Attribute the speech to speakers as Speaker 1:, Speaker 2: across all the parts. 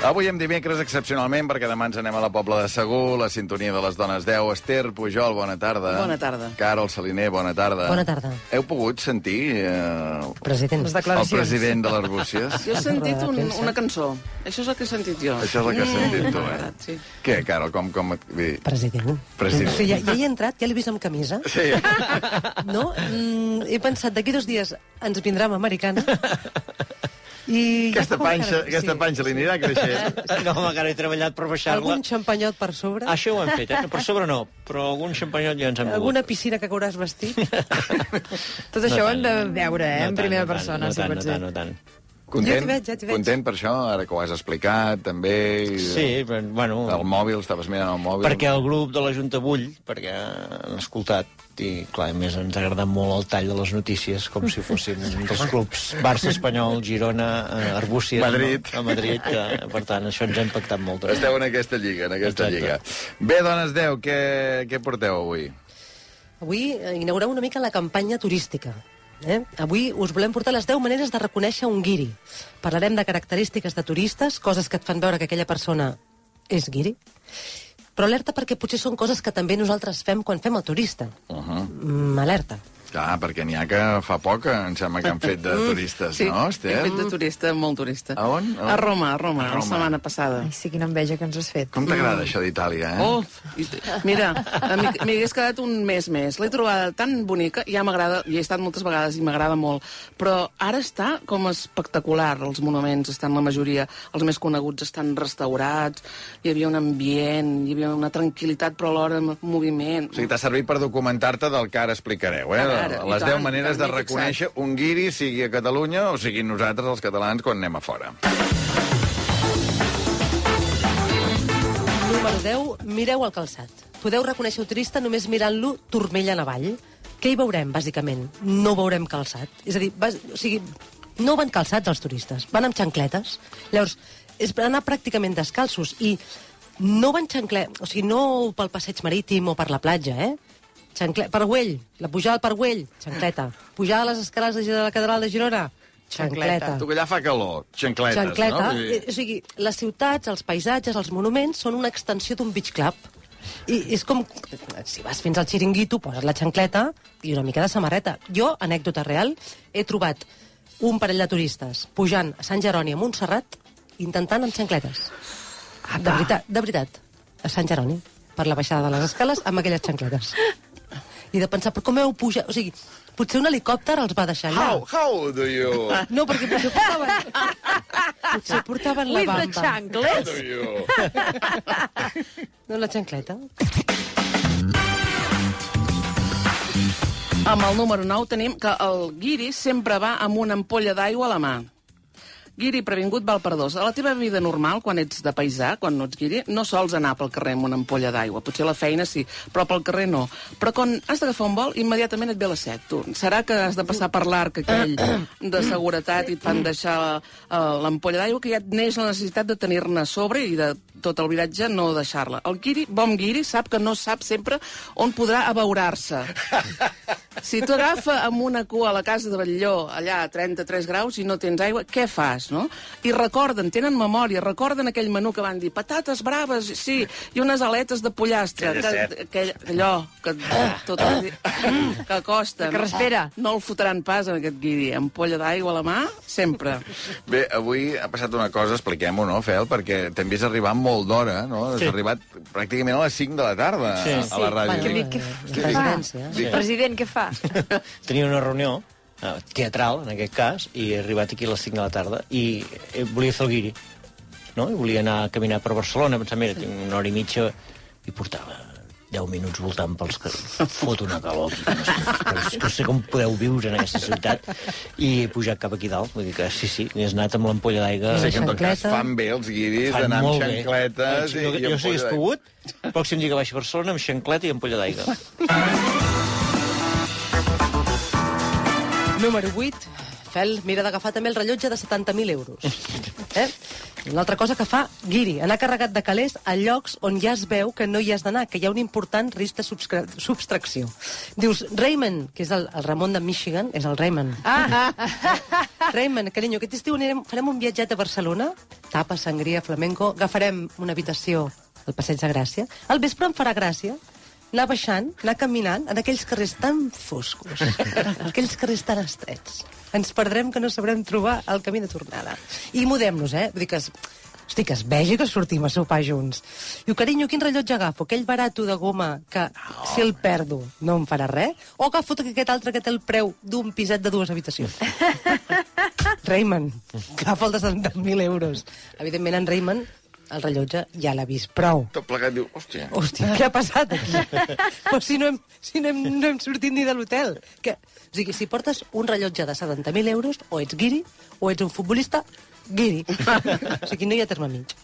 Speaker 1: Avui hem dimecres excepcionalment, perquè demà ens anem a la Pobla de Segur, la sintonia de les dones 10. Esther Pujol, bona tarda.
Speaker 2: Bona tarda.
Speaker 1: Carol Saliner, bona tarda.
Speaker 3: Bona tarda.
Speaker 1: Heu pogut sentir eh,
Speaker 3: President.
Speaker 2: Les
Speaker 1: el
Speaker 2: declaracions.
Speaker 1: president de les Rússies?
Speaker 2: Jo he sentit
Speaker 3: Roda de
Speaker 2: un,
Speaker 3: premsa.
Speaker 2: una cançó. Això és el que he sentit jo.
Speaker 1: Això és el que has sentit tu,
Speaker 3: Mm,
Speaker 1: eh?
Speaker 2: Sí.
Speaker 1: Què, Carol, com... com... et- Bé,
Speaker 3: President.
Speaker 1: President.
Speaker 3: Sí, ja, ja hi he entrat, ja l'he vist amb camisa.
Speaker 1: Sí,
Speaker 3: No? Mm, he pensat, d'aquí dos dies ens vindrà amb americana. I
Speaker 1: aquesta
Speaker 3: com
Speaker 1: panxa,
Speaker 3: encara-
Speaker 1: aquesta panxa li anirà creixent.
Speaker 4: No, home, que no he treballat per baixar-la.
Speaker 3: Algun xampanyot per sobre?
Speaker 4: Això ho hem fet, eh? No, per sobre no, però algun xampanyot ja ens hem
Speaker 3: Alguna piscina que cauràs vestit?
Speaker 5: Tot
Speaker 4: No
Speaker 5: això ho
Speaker 4: tant,
Speaker 5: hem de veure, eh, en primera
Speaker 4: tant, no
Speaker 5: persona, si
Speaker 4: tant,
Speaker 5: pot
Speaker 4: no
Speaker 5: ser.
Speaker 4: tant, no tant.
Speaker 1: Content,
Speaker 3: Ja t'hi veig, ja t'hi veig.
Speaker 1: Content per això, ara que ho has explicat, també. i-
Speaker 4: Sí, però, bueno,
Speaker 1: eh. El mòbil, estaves mirant el mòbil.
Speaker 4: perquè el grup de la Junta Bull, perquè han escoltat, i clar, a més ens ha agradat molt el tall de les notícies, com si fossin dels clubs Barça, Espanyol, Girona, eh, Arbúcies...
Speaker 1: Madrid.
Speaker 4: No? A Madrid, que, per tant, això ens ha impactat molt.
Speaker 1: Esteu en aquesta lliga, en aquesta
Speaker 4: Exacte.
Speaker 1: lliga. Bé, dones 10, què, què porteu avui?
Speaker 3: Avui eh, inaugurem una mica la campanya turística. Eh? Avui us volem portar les 10 maneres de reconèixer un guiri. Parlarem de característiques de turistes, coses que et fan veure que aquella persona és guiri. Però alerta perquè potser són coses que també nosaltres fem quan fem el turista.
Speaker 1: Uh -huh.
Speaker 3: Mm, alerta.
Speaker 1: Clar, perquè n'hi ha que fa poc, em sembla que han fet de turistes,
Speaker 2: Sí,
Speaker 1: no,
Speaker 2: he
Speaker 1: Esther?
Speaker 2: fet de turista, molt turista.
Speaker 1: A on? A on?
Speaker 2: A Roma, a Roma,
Speaker 1: A
Speaker 2: la
Speaker 1: Roma. Eh?
Speaker 2: setmana passada.
Speaker 5: Ai, sí, quina enveja que ens has fet.
Speaker 1: Com t'agrada això d'Itàlia, eh?
Speaker 2: Mm. Oh, i t- mira, a mi- m'hi hagués quedat un mes més. L'he trobada tan bonica, ja m'agrada, hi he estat moltes vegades i m'agrada molt, però ara està com espectacular, els monuments estan la majoria, els més coneguts estan restaurats, hi havia un ambient, hi havia una tranquil·litat, però alhora amb moviment.
Speaker 1: O sigui, t'ha servit per documentar-te del que ara explicareu, eh?
Speaker 2: Ara, ara, i
Speaker 1: Les
Speaker 2: tant,
Speaker 1: 10
Speaker 2: i
Speaker 1: maneres de
Speaker 2: tant, m'he fixat.
Speaker 1: reconèixer un guiri, sigui a Catalunya o sigui nosaltres, els catalans, quan anem a fora.
Speaker 3: Número 10, mireu el calçat. Podeu reconèixer un turista només mirant-lo turmella en avall. Què hi veurem, bàsicament? No veurem calçat. És a dir, bas... o sigui, no van calçats els turistes, van amb xancletes. Llavors, és per anar pràcticament descalços i no van xancle... O sigui, no pel passeig marítim o per la platja, eh? Xancle... Parguell, la pujada al Parguell, xancleta. Pujar a les escales de de la catedral de Girona, xancleta.
Speaker 1: Tu que allà fa calor, xancletes,
Speaker 3: Xancleta.
Speaker 1: no? Vull
Speaker 3: eh,
Speaker 1: dir-
Speaker 3: O sigui, les ciutats, els paisatges, els monuments són una extensió d'un beach club. I és com, si vas fins al xiringuito, poses la xancleta i una mica de samarreta. Jo, anècdota real, he trobat un parell de turistes pujant a Sant Jeroni a Montserrat intentant amb xancletes. De veritat, de veritat, a Sant Jeroni, per la baixada de les escales, amb aquelles xancletes. I de pensar, però com heu pujat? O sigui, potser un helicòpter els va deixar
Speaker 1: How,
Speaker 3: allà.
Speaker 1: how do you...
Speaker 3: No, perquè potser portaven... potser portaven la
Speaker 5: With the
Speaker 3: bamba.
Speaker 1: How do
Speaker 5: chanclets.
Speaker 1: you...
Speaker 3: No, la xancleta.
Speaker 2: Amb el número 9 tenim que el guiri sempre va amb una ampolla d'aigua a la mà. Guiri previngut val per dos. A la teva vida normal, quan ets de paisà, quan no ets guiri, no sols anar pel carrer amb una ampolla d'aigua. Potser a la feina sí, però pel carrer no. Però quan has d'agafar un vol, immediatament et ve la set, tu. Serà que has de passar per l'arc aquell de seguretat i et fan deixar eh, l'ampolla d'aigua, que ja et neix la necessitat de tenir-ne a sobre i de tot el viratge no deixar-la. El guiri, bon guiri, sap que no sap sempre on podrà abeurar-se. Si tu agafa amb una cua a la casa de Batlló, allà a 33 graus, i no tens aigua, què fas, no? I recorden, tenen memòria, recorden aquell menú que van dir patates braves, sí, i unes aletes de pollastre.
Speaker 1: Aquella set.
Speaker 2: Que, aquell, allò que, tot el, dia- que costa.
Speaker 5: Que respira.
Speaker 2: No, no el fotran pas en aquest guiri. Ampolla d'aigua a la mà, sempre.
Speaker 1: Bé, avui ha passat una cosa, expliquem-ho, no, Fel? Perquè t'hem vist arribar molt d'hora, no? Has
Speaker 4: Sí.
Speaker 1: arribat pràcticament a les 5 de la tarda
Speaker 4: Sí.
Speaker 1: a la ràdio.
Speaker 5: Bueno, què
Speaker 3: La
Speaker 5: fa?
Speaker 3: presidència.
Speaker 1: Sí.
Speaker 5: President, què fa?
Speaker 4: tenia una reunió eh, teatral, en aquest cas, i he arribat aquí a les 5 de la tarda, i eh, volia fer el guiri, no? I volia anar a caminar per Barcelona, pensant, mira, tinc una hora i mitja, i portava 10 minuts voltant pels que fot una calor aquí. que No sé, que és que no sé com podeu viure en aquesta ciutat. I he pujat cap aquí dalt, vull dir que sí, sí, he anat amb l'ampolla d'aigua.
Speaker 1: O sigui que, en tot cas,
Speaker 3: Xancleta.
Speaker 1: fan bé els guiris
Speaker 4: Fan
Speaker 1: d'anar amb
Speaker 4: molt bé. Ah,
Speaker 1: xancletes...
Speaker 4: Jo, jo, jo si hagués
Speaker 1: ampolla d'aigua.
Speaker 4: pogut, pròxim dia que baixi a Barcelona, amb xancleta i ampolla d'aigua.
Speaker 3: Número 8. Fel, mira d'agafar també el rellotge de 70.000 euros. Eh? Una altra cosa que fa Guiri, anar carregat de calés a llocs on ja es veu que no hi has d'anar, que hi ha un important risc de subscra- subtracció. Dius, Raymond, que és el, el Ramon de Michigan, és el Raymond.
Speaker 5: Ah,
Speaker 3: Raymond, carinyo, aquest estiu anirem, farem un viatget a Barcelona, tapa, sangria, flamenco, agafarem una habitació al Passeig de Gràcia, al vespre em farà gràcia anar baixant, anar caminant en aquells carrers tan foscos, en aquells carrers tan estrets. Ens perdrem que no sabrem trobar el camí de tornada. I mudem-nos, eh? Vull dir que es, hosti, que es vegi que sortim a sopar junts. Diu, carinyo, quin rellotge agafo? Aquell barato de goma que, si el perdo, no em farà res? O agafo aquest altre que té el preu d'un piset de dues habitacions? Raymond, agafa el de 70.000 euros. Evidentment, en Raymond, el rellotge ja l'ha vist prou.
Speaker 1: Tot plegat diu, hòstia...
Speaker 3: Hòstia, què ha passat aquí? Però si no hem, si no hem, no hem sortit ni de l'hotel. Que... O sigui, si portes un rellotge de 70.000 euros, o ets guiri, o ets un futbolista, guiri. O sigui, no hi ha terme mig.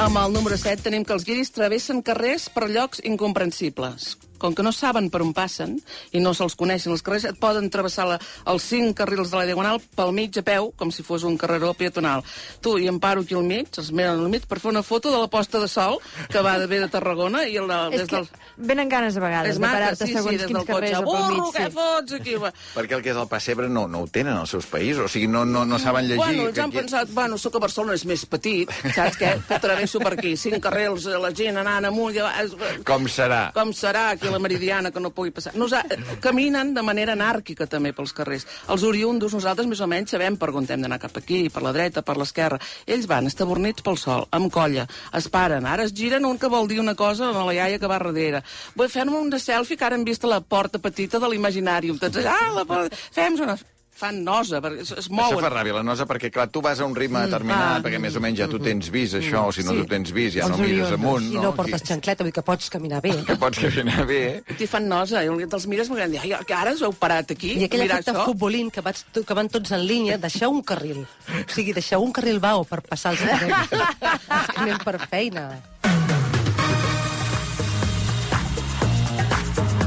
Speaker 2: Amb el número 7 tenim que els guiris travessen carrers per llocs incomprensibles. Com que no saben per on passen i no se'ls coneixen els carrers, et poden travessar la, els cinc carrils de la Diagonal pel mig a peu, com si fos un carreró peatonal. Tu i em paro aquí al mig, els miren al mig, per fer una foto de la posta de sol que va de ve de Tarragona i el, de-
Speaker 5: és
Speaker 2: des
Speaker 5: que
Speaker 2: del...
Speaker 5: venen ganes a vegades de parar-te segons quins carrers o pel mig.
Speaker 2: Burro, què fots aquí? Va.
Speaker 1: Perquè el que és el pessebre no, no ho tenen als seus països. O sigui, no, no, no saben llegir...
Speaker 2: Bueno, ens
Speaker 1: que
Speaker 2: han
Speaker 1: aquí-
Speaker 2: pensat, bueno, sóc a Barcelona, és més petit, saps què? Travesso per aquí, cinc carrils, eh, la gent anant amunt... i avall.
Speaker 1: Com serà?
Speaker 2: Com serà aquí a la Meridiana que no pugui passar? Nos, eh, caminen de manera anàrquica també pels carrers. Els oriundos, nosaltres més o menys sabem per on hem d'anar cap aquí, per la dreta, per l'esquerra. Ells van estabornits pel sol, amb colla, es paren, ara es giren un que vol dir una cosa a la iaia que va darrere. Vull fer-me una selfie que ara hem vist a la porta petita de l'imaginari. Tots allà, ah, la porta... Fem-nos una... Fan nosa, perquè es, es mouen.
Speaker 1: Això fa ràbia, la nosa, perquè, clar, tu vas a un ritme determinat,
Speaker 2: va.
Speaker 1: perquè més o menys ja tu
Speaker 4: Mm-hmm.
Speaker 1: tens vist això, o si no
Speaker 2: Sí.
Speaker 1: tu tens vist, ja
Speaker 3: Els
Speaker 1: no mires
Speaker 3: oriündos.
Speaker 1: amunt,
Speaker 3: I no portes xancleta, vull dir que pots caminar bé.
Speaker 1: Que pots caminar bé, eh?
Speaker 2: T'hi fan nosa, i te'ls mires i diuen, "Ai, que ara us heu parat aquí,
Speaker 3: I aquell
Speaker 2: mirar
Speaker 3: efecte
Speaker 2: això."
Speaker 3: futbolín que, vaig, que van tots en línia, deixeu un carril. O sigui, deixeu un carril vau per passar els carrers. És que anem per feina.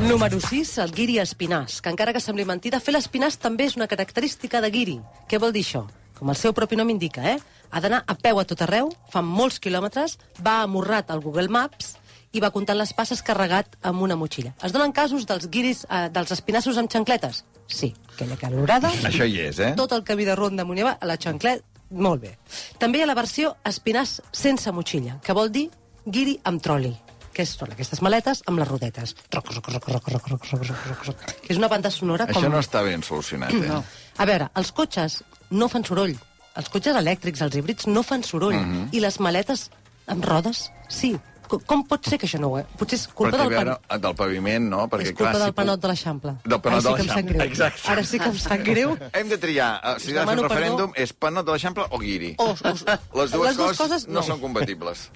Speaker 3: Número 6, el guiri espinàs, que encara que sembli mentida, fer l'espinàs també és una característica de guiri. Què vol dir això? Com el seu propi nom indica, eh? Ha d'anar a peu a tot arreu, fa molts quilòmetres, va amorrat al Google Maps i va comptant les passes carregat amb una motxilla. Es donen casos dels guiris, eh, dels espinassos amb xancletes? Sí, aquella calorada
Speaker 1: Això hi és, eh?
Speaker 3: tot el camí de ronda amunt i avall, a la xanclet, molt bé. També hi ha la versió espinàs sense motxilla, que vol dir guiri amb troli que són aquestes maletes amb les rodetes. Roc, roc, roc, roc, roc, roc, roc, roc, roc. Que És una banda sonora
Speaker 1: Això
Speaker 3: com...
Speaker 1: no està ben solucionat, eh? No.
Speaker 3: A veure, els cotxes no fan soroll. Els cotxes elèctrics, els híbrids, no fan soroll.
Speaker 1: Mhm.
Speaker 3: I les maletes amb rodes, sí. Com, com pot ser que això no ho... eh? Potser és culpa
Speaker 1: Però
Speaker 3: del
Speaker 1: té a
Speaker 3: pan...
Speaker 1: veure del paviment, no? Perquè,
Speaker 3: és culpa
Speaker 1: clar, si
Speaker 3: del
Speaker 1: pu-
Speaker 3: panot de l'Eixample.
Speaker 1: Del panot
Speaker 3: Ara
Speaker 1: de
Speaker 3: sí que em sap
Speaker 1: l'Eixample,
Speaker 3: greu.
Speaker 1: exacte.
Speaker 3: Ara sí que em sap greu.
Speaker 1: Hem de triar, eh, si ha de fer
Speaker 3: Us
Speaker 1: un
Speaker 3: demano perdó.
Speaker 1: referèndum, és panot de l'Eixample o guiri.
Speaker 3: O, o,
Speaker 1: Les dues,
Speaker 3: les dues coses
Speaker 1: no. són compatibles.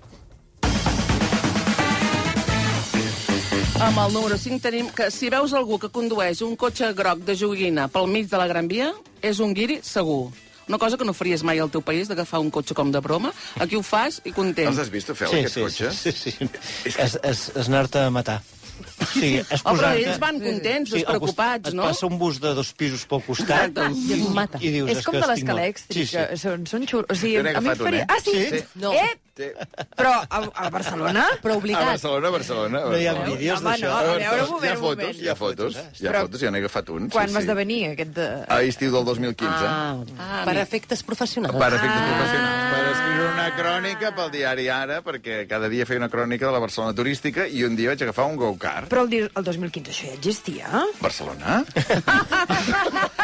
Speaker 2: Amb el número 5 tenim que si veus algú que condueix un cotxe groc de joguina pel mig de la Gran Via, és un guiri segur. Una cosa que no faries mai al teu país, d'agafar un cotxe com de broma. Aquí ho fas i content.
Speaker 1: Els has vist, Ofel, aquests cotxes?
Speaker 4: Sí, sí, sí. És, és, és anar-te a matar. O sigui, és
Speaker 2: Oh, però
Speaker 4: posar-te-
Speaker 2: ells van contents,
Speaker 4: al costat-
Speaker 2: despreocupats, no?
Speaker 4: Et passa un bus de dos pisos pel costat
Speaker 2: Exacte.
Speaker 3: I et mata.
Speaker 4: i dius...
Speaker 5: És com
Speaker 4: que
Speaker 5: de
Speaker 4: estic
Speaker 5: l'escala
Speaker 4: mort.
Speaker 5: extra,
Speaker 4: Sí, sí.
Speaker 5: que són, són xulos. O sigui,
Speaker 1: Jo n'he
Speaker 5: a mi em
Speaker 1: agafat un,
Speaker 5: faria...
Speaker 1: eh?
Speaker 5: Ah, sí?
Speaker 1: Sí.
Speaker 3: No.
Speaker 5: Eh?
Speaker 1: Té-
Speaker 5: Però a, a Barcelona?
Speaker 3: Però
Speaker 1: A
Speaker 3: obligat.
Speaker 1: Barcelona, a Barcelona. a
Speaker 4: No hi ha
Speaker 1: Barcelona.
Speaker 4: vídeos
Speaker 5: Home,
Speaker 4: d'això.
Speaker 5: no, a veure, un
Speaker 1: hi ha
Speaker 5: moment, un
Speaker 1: fotos,
Speaker 5: moment.
Speaker 1: hi ha fotos, hi ha
Speaker 5: Però-
Speaker 1: fotos, jo n'he agafat un.
Speaker 5: Quan
Speaker 1: sí,
Speaker 5: va
Speaker 1: sí.
Speaker 5: esdevenir aquest... De...
Speaker 1: A estiu del 2015.
Speaker 3: Ah, ah, per efectes professionals.
Speaker 1: Per efectes
Speaker 5: Ah.
Speaker 1: professionals. Per escriure una crònica pel diari Ara, perquè cada dia feia una crònica de la Barcelona turística i un dia vaig agafar un go-kart.
Speaker 5: Però el, di- el 2015 això ja existia?
Speaker 1: Barcelona?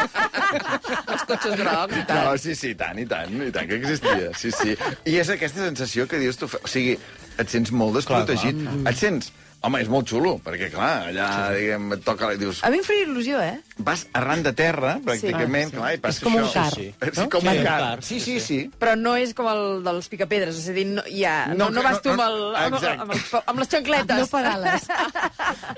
Speaker 2: Els cotxes grocs i tal.
Speaker 1: No, sí, sí, i tant, i tant, i tant que existia. Sí, sí. I és aquesta sensació que dius tu... O sigui, et sents molt desprotegit. Et sents... Home, és molt xulo, perquè, clar, allà, diguem, et toca... I dius,
Speaker 5: A mi em faria il·lusió, eh?
Speaker 1: vas arran de terra, pràcticament, clar, i passa
Speaker 3: És com un
Speaker 1: això.
Speaker 3: car,
Speaker 1: Sí, sí. És com un car. Sí, sí, sí.
Speaker 5: Però no és com el dels picapedres, és a dir, no, ja, no,
Speaker 1: No,
Speaker 5: no, vas
Speaker 1: no,
Speaker 5: tu amb,
Speaker 1: no,
Speaker 5: el, amb,
Speaker 1: exacte.
Speaker 5: amb, els- amb les xancletes.
Speaker 3: No pedales.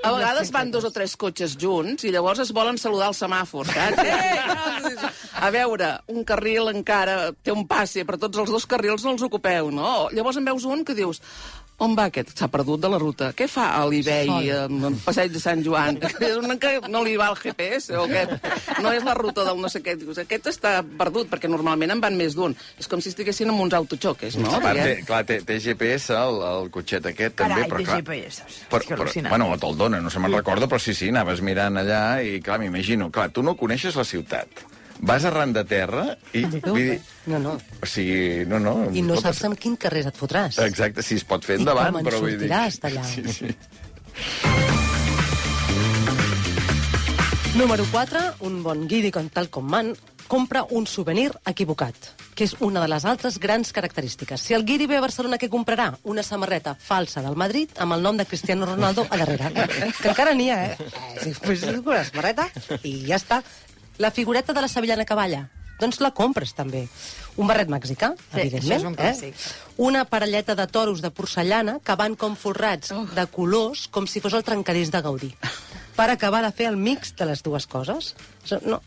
Speaker 2: A vegades van dos o tres cotxes junts i llavors es volen saludar al semàfor, saps? Eh, a veure, un carril encara té un passe, però tots els dos carrils no els ocupeu, no? Llavors en veus un que dius, on va aquest? S'ha perdut de la ruta. Què fa a l'Ibei, en passeig de Sant Joan? És un que no li va el GPS, o què? No és la ruta del no sé què. Dius, aquest està perdut, perquè normalment en van més d'un. És com si estiguessin en uns autoxoques, no?
Speaker 1: A part, té, clar, té, té GPS el, el cotxet aquest,
Speaker 6: Carai,
Speaker 1: també, però
Speaker 6: té
Speaker 1: clar...
Speaker 6: GPS, és
Speaker 1: Però,
Speaker 6: que
Speaker 1: però,
Speaker 6: al·lucinant.
Speaker 1: bueno, te'l dona, no se me'n recorda, però sí, sí, anaves mirant allà i, clar, m'imagino, clar, tu no coneixes la ciutat. Vas arran de terra i... vull dir,
Speaker 3: No, no.
Speaker 1: o sigui, no, no...
Speaker 3: I no
Speaker 1: pot-
Speaker 3: saps amb quin carrer et fotràs.
Speaker 1: Exacte, si es pot fer
Speaker 3: I
Speaker 1: endavant,
Speaker 3: com en
Speaker 1: però vull dir...
Speaker 3: sortiràs d'allà.
Speaker 1: Sí, sí.
Speaker 3: Número 4, un bon guiri com tal com man, compra un souvenir equivocat, que és una de les altres grans característiques. Si el guiri ve a Barcelona, què comprarà? Una samarreta falsa del Madrid amb el nom de Cristiano Ronaldo a darrere. Que encara n'hi ha, eh? eh sí, pues, una samarreta i ja està. La figureta de la Sevillana que balla, doncs la compres també. Un barret mexicà,
Speaker 6: Sí,
Speaker 3: evidentment.
Speaker 6: això és un
Speaker 3: eh?
Speaker 6: clàssic.
Speaker 3: Una parelleta de toros de porcellana que van com forrats
Speaker 6: Oh.
Speaker 3: de colors com si fos el trencadís de Gaudí. Per acabar de fer el mix de les dues coses. So- No.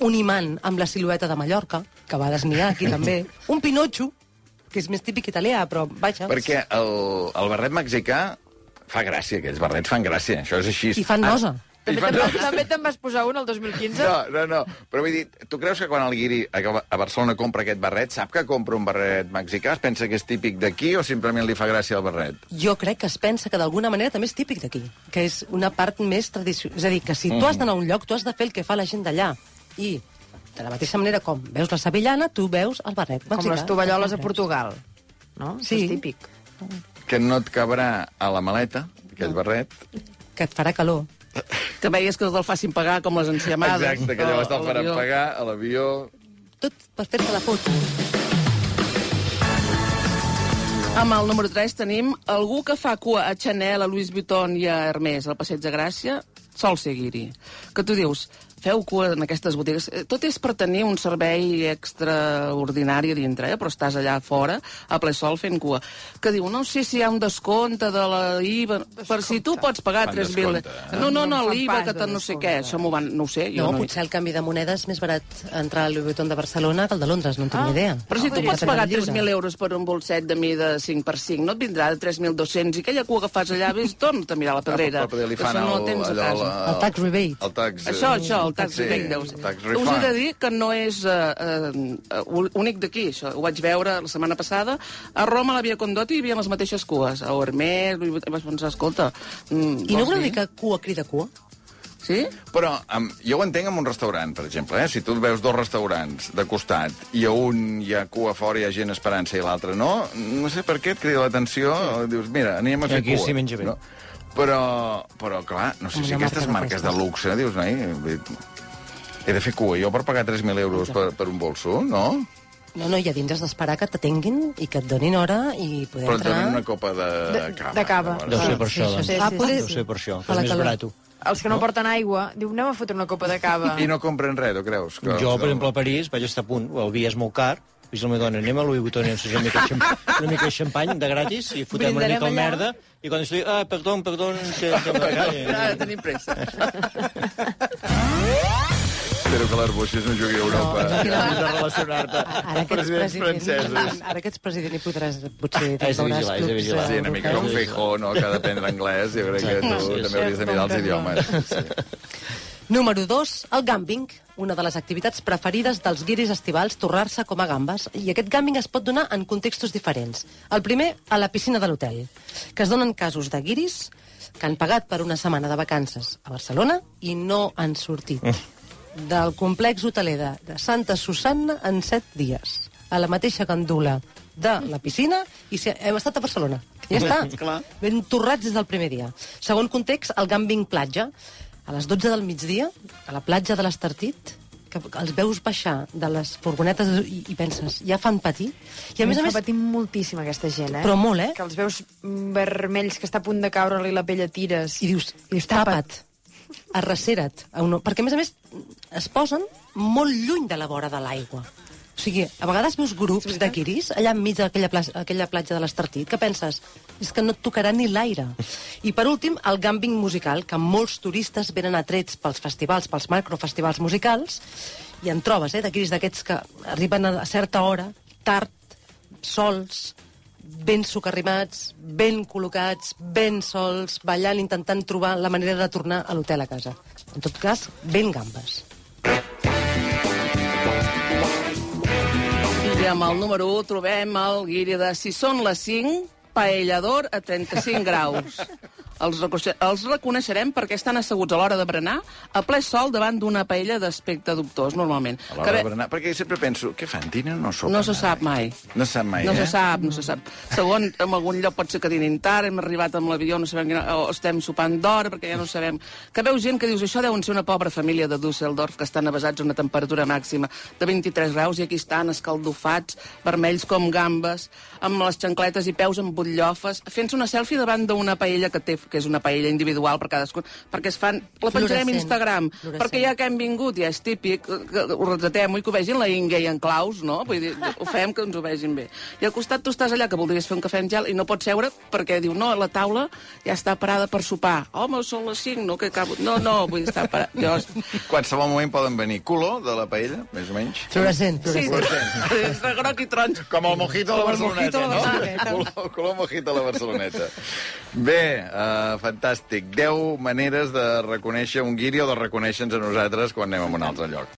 Speaker 3: Un imant amb la silueta de Mallorca, que va desniar aquí també. Un pinotxo, que és més típic italià, però vaja...
Speaker 1: Perquè el, el barret mexicà fa gràcia, aquells barrets fan gràcia, això és així.
Speaker 3: I fan
Speaker 1: Ara-
Speaker 3: nosa.
Speaker 1: I
Speaker 6: També,
Speaker 1: fan
Speaker 6: també,
Speaker 1: nosa.
Speaker 6: també te'n vas posar un el 2015?
Speaker 1: No, no, no. Però vull dir, tu creus que quan el guiri a a Barcelona compra aquest barret, sap que compra un barret mexicà? Es pensa que és típic d'aquí o simplement li fa gràcia el barret?
Speaker 3: Jo crec que es pensa que d'alguna manera també és típic d'aquí, que és una part més tradicional. És a dir, que si tu has d'anar a un lloc, tu has de fer el que fa la gent d'allà. I de la mateixa manera com veus la sevillana, tu veus el barret mexicà.
Speaker 6: Com les tovalloles a Portugal. No? Això
Speaker 3: Sí.
Speaker 6: és típic.
Speaker 1: Que no et cabrà a la maleta, aquell barret.
Speaker 3: Que et farà calor.
Speaker 2: Que veies que te'l facin pagar com les enciamades.
Speaker 1: Exacte, que llavors te'l faran
Speaker 2: Avió.
Speaker 1: pagar a l'avió.
Speaker 3: Tot per fer-te la foto.
Speaker 2: Amb el número 3 tenim algú que fa cua a Chanel, a Louis Vuitton i a Hermès al Passeig de Gràcia, sol seguir-hi. Que tu dius, feu cua en aquestes botigues. Eh, Tot és per tenir un servei extraordinari a dintre, eh? però estàs allà fora, a ple sol, fent cua. Que diu, no sé si hi ha un descompte de la IVA... Per si tu pots pagar
Speaker 1: Fan
Speaker 2: 3.000...
Speaker 1: descompte,
Speaker 2: No,
Speaker 6: eh?
Speaker 2: no, no,
Speaker 6: No en fan
Speaker 2: l'IVA,
Speaker 6: pas,
Speaker 2: que
Speaker 6: de
Speaker 2: tant no sé
Speaker 6: descompte.
Speaker 2: què. Això m'ho van... No ho sé,
Speaker 3: No,
Speaker 2: jo no,
Speaker 3: potser el canvi de moneda és més barat entrar al Louis Vuitton de Barcelona que el de Londres, no en tinc ni idea.
Speaker 2: Ah,
Speaker 3: Ah,
Speaker 2: Però si tu
Speaker 3: Podria
Speaker 2: pots
Speaker 3: ser
Speaker 2: pagar
Speaker 3: lliure.
Speaker 2: 3.000 euros per un bolset de mida 5x5, no et vindrà de 3.200 i aquella cua que fas allà, ves, torna't a mirar la pedrera.
Speaker 1: Ah, Però li
Speaker 2: que
Speaker 1: fan
Speaker 2: això
Speaker 1: el-
Speaker 2: no ho tens a
Speaker 1: allò,
Speaker 2: casa.
Speaker 1: la-
Speaker 3: El tax rebate.
Speaker 1: El tax... eh,
Speaker 2: Això, això, el tax
Speaker 1: sí,
Speaker 2: sí, Windows.
Speaker 1: el tax
Speaker 2: Us he
Speaker 1: refund.
Speaker 2: de dir que no és eh, eh, ú- únic d'aquí, això. Ho vaig veure la setmana passada. A Roma, a la Via Condotti, hi havia les mateixes cues. A Hermès, Louis Vuitton... Vas pensar, escolta... Mm,
Speaker 3: I no
Speaker 2: vols
Speaker 3: voleu
Speaker 2: dir?
Speaker 3: dir que cua crida cua?
Speaker 2: Sí?
Speaker 1: Però um, jo ho entenc amb un restaurant, per exemple. Eh? Si tu veus dos restaurants de costat i a un hi ha cua fora, hi ha gent esperant-se i l'altre no, no sé per què et crida l'atenció. Sí. Dius, mira, anem a fer
Speaker 4: Aquí
Speaker 1: cua.
Speaker 4: s'hi menja bé.
Speaker 1: No? Però, però, clar, no sé
Speaker 3: Amb
Speaker 1: si
Speaker 3: una
Speaker 1: aquestes
Speaker 3: marca
Speaker 1: marques
Speaker 3: com
Speaker 1: de luxe, eh, dius, noi, vull dir, he de fer cua jo per pagar 3.000 euros per, per un bolso, no?
Speaker 3: No, no, i a dins has d'esperar que t'atenguin i que et donin hora i poder
Speaker 1: Però et
Speaker 3: entrar...
Speaker 1: donen una copa de,
Speaker 6: De-
Speaker 1: cava.
Speaker 6: de cava.
Speaker 1: llavors.
Speaker 4: Deu ser per
Speaker 3: Sí,
Speaker 4: això,
Speaker 3: això
Speaker 4: doncs.
Speaker 3: sí,
Speaker 6: Ah,
Speaker 3: sí,
Speaker 6: poder-
Speaker 3: sí.
Speaker 4: Deu ser per això,
Speaker 3: A
Speaker 4: que
Speaker 3: la
Speaker 4: és més
Speaker 3: calor.
Speaker 4: barat.
Speaker 6: Els que no, porten aigua, diu, anem a fotre una copa de cava.
Speaker 1: I no compren res, tu creus? Que
Speaker 4: Jo, per exemple, a París vaig estar a punt, el vi és molt car, i la meva dona, anem a Louis Vuitton i ens fem una mica de xamp- una mica de xampany de gratis i fotem una mica de merda i quan ens diu, ah, perdó, perdó, que, que
Speaker 2: Ara
Speaker 4: m'agrada.
Speaker 2: tenim pressa.
Speaker 1: Espero que l'Arbocius no jugui a Europa.
Speaker 4: Has de relacionar-te
Speaker 3: Ara que ets
Speaker 1: Presidents
Speaker 3: president,
Speaker 1: franceses.
Speaker 3: ara que ets president i podràs, potser,
Speaker 4: Has de vigilar, has de vigilar.
Speaker 1: Sí, una mica com Feijó, no?, que ha d'aprendre anglès. Jo crec que tu
Speaker 4: Sí, sí.
Speaker 1: també hauries de mirar els idiomes. Sí.
Speaker 3: Número 2, el gambing, una de les activitats preferides dels guiris estivals, torrar-se com a gambes. I aquest gambing es pot donar en contextos diferents. El primer, a la piscina de l'hotel, que es donen casos de guiris que han pagat per una setmana de vacances a Barcelona i no han sortit del complex hoteler de, de Santa Susanna en 7 dies, a la mateixa gandula de la piscina, i si hem estat a Barcelona. Ja està.
Speaker 2: Clar.
Speaker 3: Ben torrats des del primer dia. Segon context, el gambing platja. A les 12 del migdia, a la platja de l'Estartit, que els veus baixar de les furgonetes i, i penses, ja fan patir. I a més a més,
Speaker 6: patim moltíssim aquesta gent, eh?
Speaker 3: Però molt, eh?
Speaker 6: Que els veus mm, vermells, que està a punt de caure-li la pell a tires.
Speaker 3: i dius,
Speaker 6: I dius,
Speaker 3: tapa't, arrecera't. a un- Perquè, a més a més, es posen molt lluny de la vora de l'aigua. O sigui, a vegades veus grups de guiris allà enmig d'aquella pla- aquella platja de l'Estartit que penses, és que no et tocarà ni l'aire. I per últim, el gambing musical, que molts turistes venen atrets pels festivals, pels macrofestivals musicals, i en trobes, eh, d'aquells d'aquests que arriben a certa hora, tard, sols, ben socarrimats, ben col·locats, ben sols, ballant, intentant trobar la manera de tornar a l'hotel a casa. En tot cas, ben gambes.
Speaker 2: I amb el número 1 trobem el guiri de Si són les 5, paellador a 35 graus. Els, recoxe- els reconeixerem perquè estan asseguts a l'hora de berenar a ple sol davant d'una paella d'aspecte dubtós, normalment.
Speaker 1: A l'hora de berenar, perquè sempre penso, què fan, dinen o no sopen?
Speaker 2: No se sap mai.
Speaker 1: No se sap mai,
Speaker 2: no
Speaker 1: eh?
Speaker 2: se sap, no se sap. Segon, en algun lloc pot ser que dinin tard, hem arribat amb l'avió, no sabem quina, o estem sopant d'hora, perquè ja no sabem. Que veu gent que dius, això deuen ser una pobra família de Düsseldorf, que estan avasats a una temperatura màxima de 23 graus, i aquí estan escaldofats, vermells com gambes, amb les xancletes i peus amb butllofes, fent-se una selfie davant d'una paella que té, que és una paella individual per cadascun, perquè es fan... La penjarem
Speaker 3: Fluorescent.
Speaker 2: a Instagram,
Speaker 3: Fluorescent.
Speaker 2: perquè ja que hem vingut, ja és típic, eh, que ho retratem i que ho vegin la Inge i en Claus, no? Vull dir, ho fem que ens ho vegin bé. I al costat tu estàs allà que voldries fer un cafè amb gel i no pots seure perquè diu, no, la taula ja està parada per sopar. Home, són les 5, no, que acabo... No, no, vull estar parada. Jo...
Speaker 1: Qualsevol moment poden venir color de la paella, més o menys.
Speaker 3: Fluorescent,
Speaker 2: Sí,
Speaker 3: fluorescent.
Speaker 2: sí. Entre groc i taronja.
Speaker 1: Com el mojito a la Barceloneta,
Speaker 2: Com el mojito a la Barceloneta.
Speaker 1: no? Color, color mojito a la Barceloneta. Bé, uh, fantàstic. 10 maneres de reconèixer un guiri o de reconèixer-nos a nosaltres quan anem a un altre lloc.